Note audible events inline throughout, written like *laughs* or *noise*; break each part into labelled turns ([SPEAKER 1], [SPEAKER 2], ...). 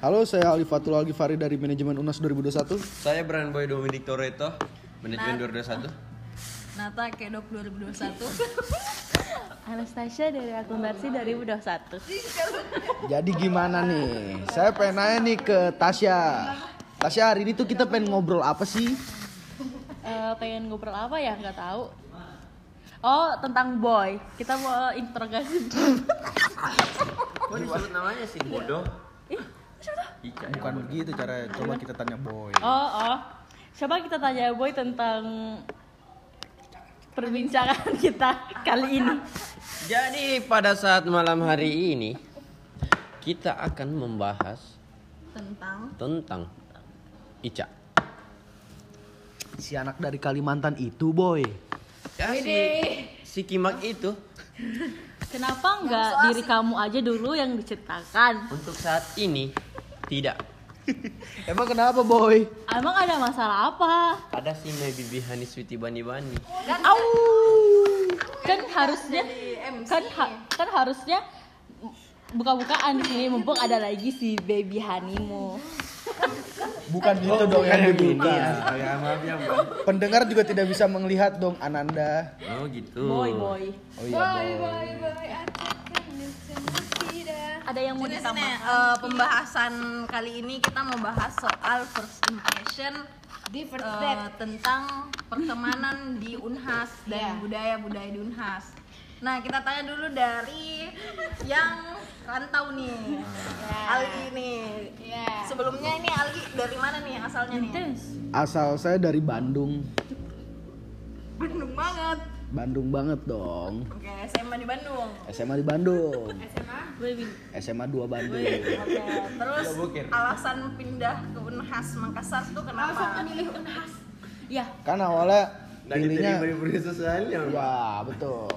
[SPEAKER 1] Halo, saya Ali Fatul Al Ghifari dari Manajemen UNAS 2021.
[SPEAKER 2] Saya Brand Boy Dominic Toretto, manajemen 221.
[SPEAKER 3] Nata Kedok 2021
[SPEAKER 4] *laughs* Anastasia dari akun Barsi dari Udah Satu.
[SPEAKER 1] Jadi gimana nih? Saya pengen nanya nih ke Tasya. Tasya, hari ini tuh kita pengen ngobrol apa sih?
[SPEAKER 4] Eh, pengen ngobrol apa ya? Nggak tahu. Oh, tentang boy. Kita mau interogasi.
[SPEAKER 3] *laughs*
[SPEAKER 2] Kok disebut namanya sih bodoh?
[SPEAKER 4] Ih, siapa?
[SPEAKER 2] Ica.
[SPEAKER 1] Iya, Bukan begitu caranya. Coba kita tanya Boy.
[SPEAKER 4] Oh, oh. Coba kita tanya boy tentang perbincangan *laughs* kita kali ini.
[SPEAKER 2] Jadi pada saat malam hari ini kita akan membahas
[SPEAKER 3] tentang
[SPEAKER 2] tentang Ica.
[SPEAKER 1] Si anak dari Kalimantan itu, Boy.
[SPEAKER 2] Ya, si, si Kimak itu
[SPEAKER 4] Kenapa nggak diri kamu aja dulu yang diciptakan?
[SPEAKER 2] untuk saat ini tidak
[SPEAKER 1] Emang kenapa, Boy?
[SPEAKER 4] Emang ada masalah apa?
[SPEAKER 2] ada si My Bibi Hani Sweetie Bani Bani.
[SPEAKER 4] Au! Kan harusnya kan ha- kan harusnya buka-bukaan di sini mumpung ada lagi si baby hanimu.
[SPEAKER 1] Bukan gitu iya, dong yang diminta.
[SPEAKER 2] Ah, ya, maaf ya, Bang.
[SPEAKER 1] Pendengar juga tidak bisa melihat dong Ananda.
[SPEAKER 2] Oh gitu.
[SPEAKER 4] Boy boy.
[SPEAKER 1] Oh iya, Boy.
[SPEAKER 4] Ada yang mau
[SPEAKER 3] Jadi sini
[SPEAKER 4] ditambah?
[SPEAKER 3] eh, pembahasan kali ini kita mau bahas soal first impression di first tentang pertemanan *laughs* di Unhas dan budaya-budaya di Unhas. Nah, kita tanya dulu dari yang rantau nih. Algi nih. Sebelumnya ini Algi dari mana nih asalnya nih?
[SPEAKER 1] Asal saya dari Bandung.
[SPEAKER 3] Bandung banget.
[SPEAKER 1] Bandung banget dong.
[SPEAKER 3] Oke, SMA di Bandung.
[SPEAKER 1] SMA di Bandung.
[SPEAKER 4] Baby.
[SPEAKER 1] SMA 2 Bandung.
[SPEAKER 3] Oke, terus alasan pindah ke Unhas Makassar tuh kenapa?
[SPEAKER 4] Ya,
[SPEAKER 1] Kan awalnya pilihnya
[SPEAKER 2] sosial
[SPEAKER 1] Ya, *laughs* betul.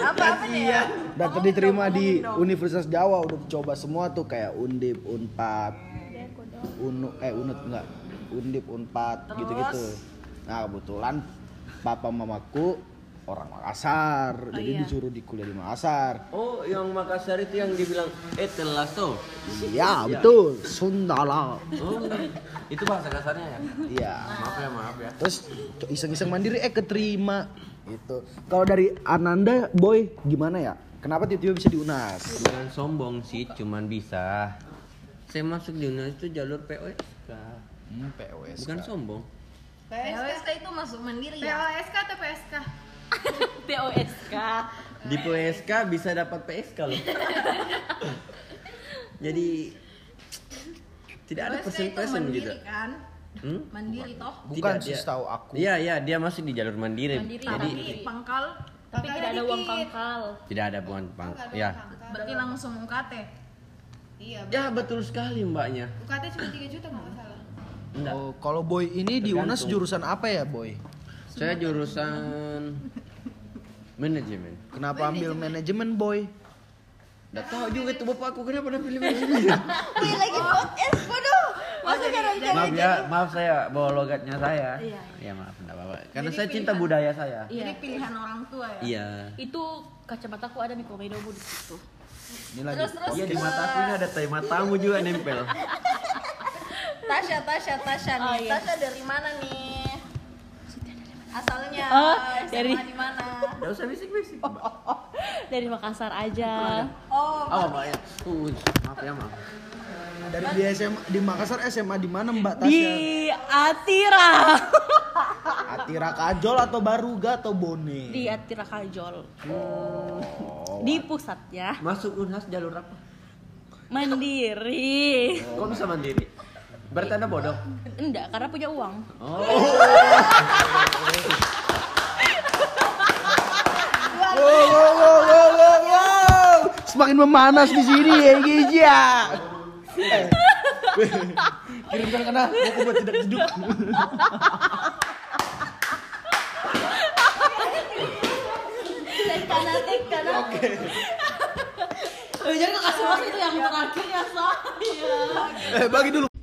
[SPEAKER 3] apa apa ya?
[SPEAKER 1] Dan diterima di Universitas Jawa udah coba semua tuh kayak Undip, Unpad, Unu, eh Unut enggak, Undip, Unpad
[SPEAKER 3] Terus?
[SPEAKER 1] gitu-gitu. Nah kebetulan papa mamaku orang Makassar, jadi disuruh di kuliah di
[SPEAKER 2] *laughs*
[SPEAKER 1] Makassar.
[SPEAKER 2] Oh, yang Makassar itu yang dibilang eh telaso.
[SPEAKER 1] Iya betul, Sundala.
[SPEAKER 2] Oh, itu bahasa kasarnya ya.
[SPEAKER 1] Iya.
[SPEAKER 2] Maaf ya, maaf ya.
[SPEAKER 1] Terus iseng-iseng mandiri eh keterima gitu. Kalau dari Ananda, boy gimana ya? Kenapa tiba-tiba bisa di UNAS?
[SPEAKER 2] Jangan sombong sih, cuman bisa. Saya masuk di Unas itu jalur POSK.
[SPEAKER 1] Hmm, POS.
[SPEAKER 2] Bukan sombong.
[SPEAKER 3] POSK itu masuk mandiri ya?
[SPEAKER 5] POSK atau PSK?
[SPEAKER 4] POSK.
[SPEAKER 2] Di POSK bisa dapat PSK *laughs* loh. Jadi tidak ada
[SPEAKER 3] POSK itu
[SPEAKER 2] persen-persen gitu.
[SPEAKER 3] mandiri kan?
[SPEAKER 2] Hmm?
[SPEAKER 3] Mandiri toh?
[SPEAKER 1] Bukan
[SPEAKER 2] Tidak,
[SPEAKER 1] sih
[SPEAKER 2] dia-
[SPEAKER 1] tahu aku.
[SPEAKER 2] Iya, iya, dia masuk di jalur mandiri.
[SPEAKER 4] Mandiri,
[SPEAKER 2] Jadi
[SPEAKER 3] Tapi pangkal
[SPEAKER 4] Tapi tidak ada uang pangkal.
[SPEAKER 2] tidak ada bukan pang. Ya.
[SPEAKER 3] berarti langsung UKT.
[SPEAKER 5] Iya.
[SPEAKER 2] Ya betul sekali mbaknya.
[SPEAKER 5] UKT cuma 3 juta nggak masalah.
[SPEAKER 2] Enggak.
[SPEAKER 1] Oh, kalau Boy ini di
[SPEAKER 2] Tergantung.
[SPEAKER 1] UNAS jurusan apa ya, Boy?
[SPEAKER 2] Saya jurusan manajemen.
[SPEAKER 1] Kenapa ambil manajemen, Boy?
[SPEAKER 2] Enggak tahu juga tuh bapakku kenapa dia
[SPEAKER 3] *laughs*
[SPEAKER 2] pilih manajemen.
[SPEAKER 3] Wih lagi podcast bodoh. Masa gara
[SPEAKER 2] maaf ya, maaf saya bawa logatnya saya. Iya, maaf enggak apa-apa. Karena saya cinta
[SPEAKER 3] kan?
[SPEAKER 2] budaya saya.
[SPEAKER 4] Iya.
[SPEAKER 3] Jadi pilihan orang tua ya?
[SPEAKER 2] Iya.
[SPEAKER 4] Itu kacamataku ada mikromedomu di situ.
[SPEAKER 1] Ini lagi.
[SPEAKER 3] Terus terus
[SPEAKER 2] Iya di mataku ini ada tai matamu juga nempel.
[SPEAKER 3] Tasya Tasya Tasya nih.
[SPEAKER 4] Oh, iya.
[SPEAKER 3] Tasya dari mana nih? Asalnya
[SPEAKER 4] Oh,
[SPEAKER 3] SMA
[SPEAKER 4] dari-
[SPEAKER 3] di mana?
[SPEAKER 2] Enggak usah bisik-bisik. Mbak.
[SPEAKER 4] Dari Makassar aja.
[SPEAKER 3] Oh,
[SPEAKER 2] Oh, mbak ya. Uh, maaf ya, maaf.
[SPEAKER 1] Dari di SMA di Makassar SMA di mana Mbak
[SPEAKER 4] Di
[SPEAKER 1] Tasya?
[SPEAKER 4] Atira.
[SPEAKER 1] Atira Kajol atau Baruga atau Bone?
[SPEAKER 4] Di Atira Kajol.
[SPEAKER 1] Oh.
[SPEAKER 4] Di ya. pusatnya
[SPEAKER 2] Masuk Unhas jalur apa?
[SPEAKER 4] mandiri.
[SPEAKER 2] Kok bisa mandiri? Bertanda bodoh.
[SPEAKER 4] Enggak, karena punya uang.
[SPEAKER 2] Oh,
[SPEAKER 1] Wow, wow, wow, wow, wow, wow. Semakin memanas di sini ya, Gija. Eh. Kirimkan kena buku buat tidak jeduk.
[SPEAKER 3] kanan kanan.
[SPEAKER 4] Jangan kasih masuk itu yang terakhir ya, saya.
[SPEAKER 1] Eh, bagi dulu.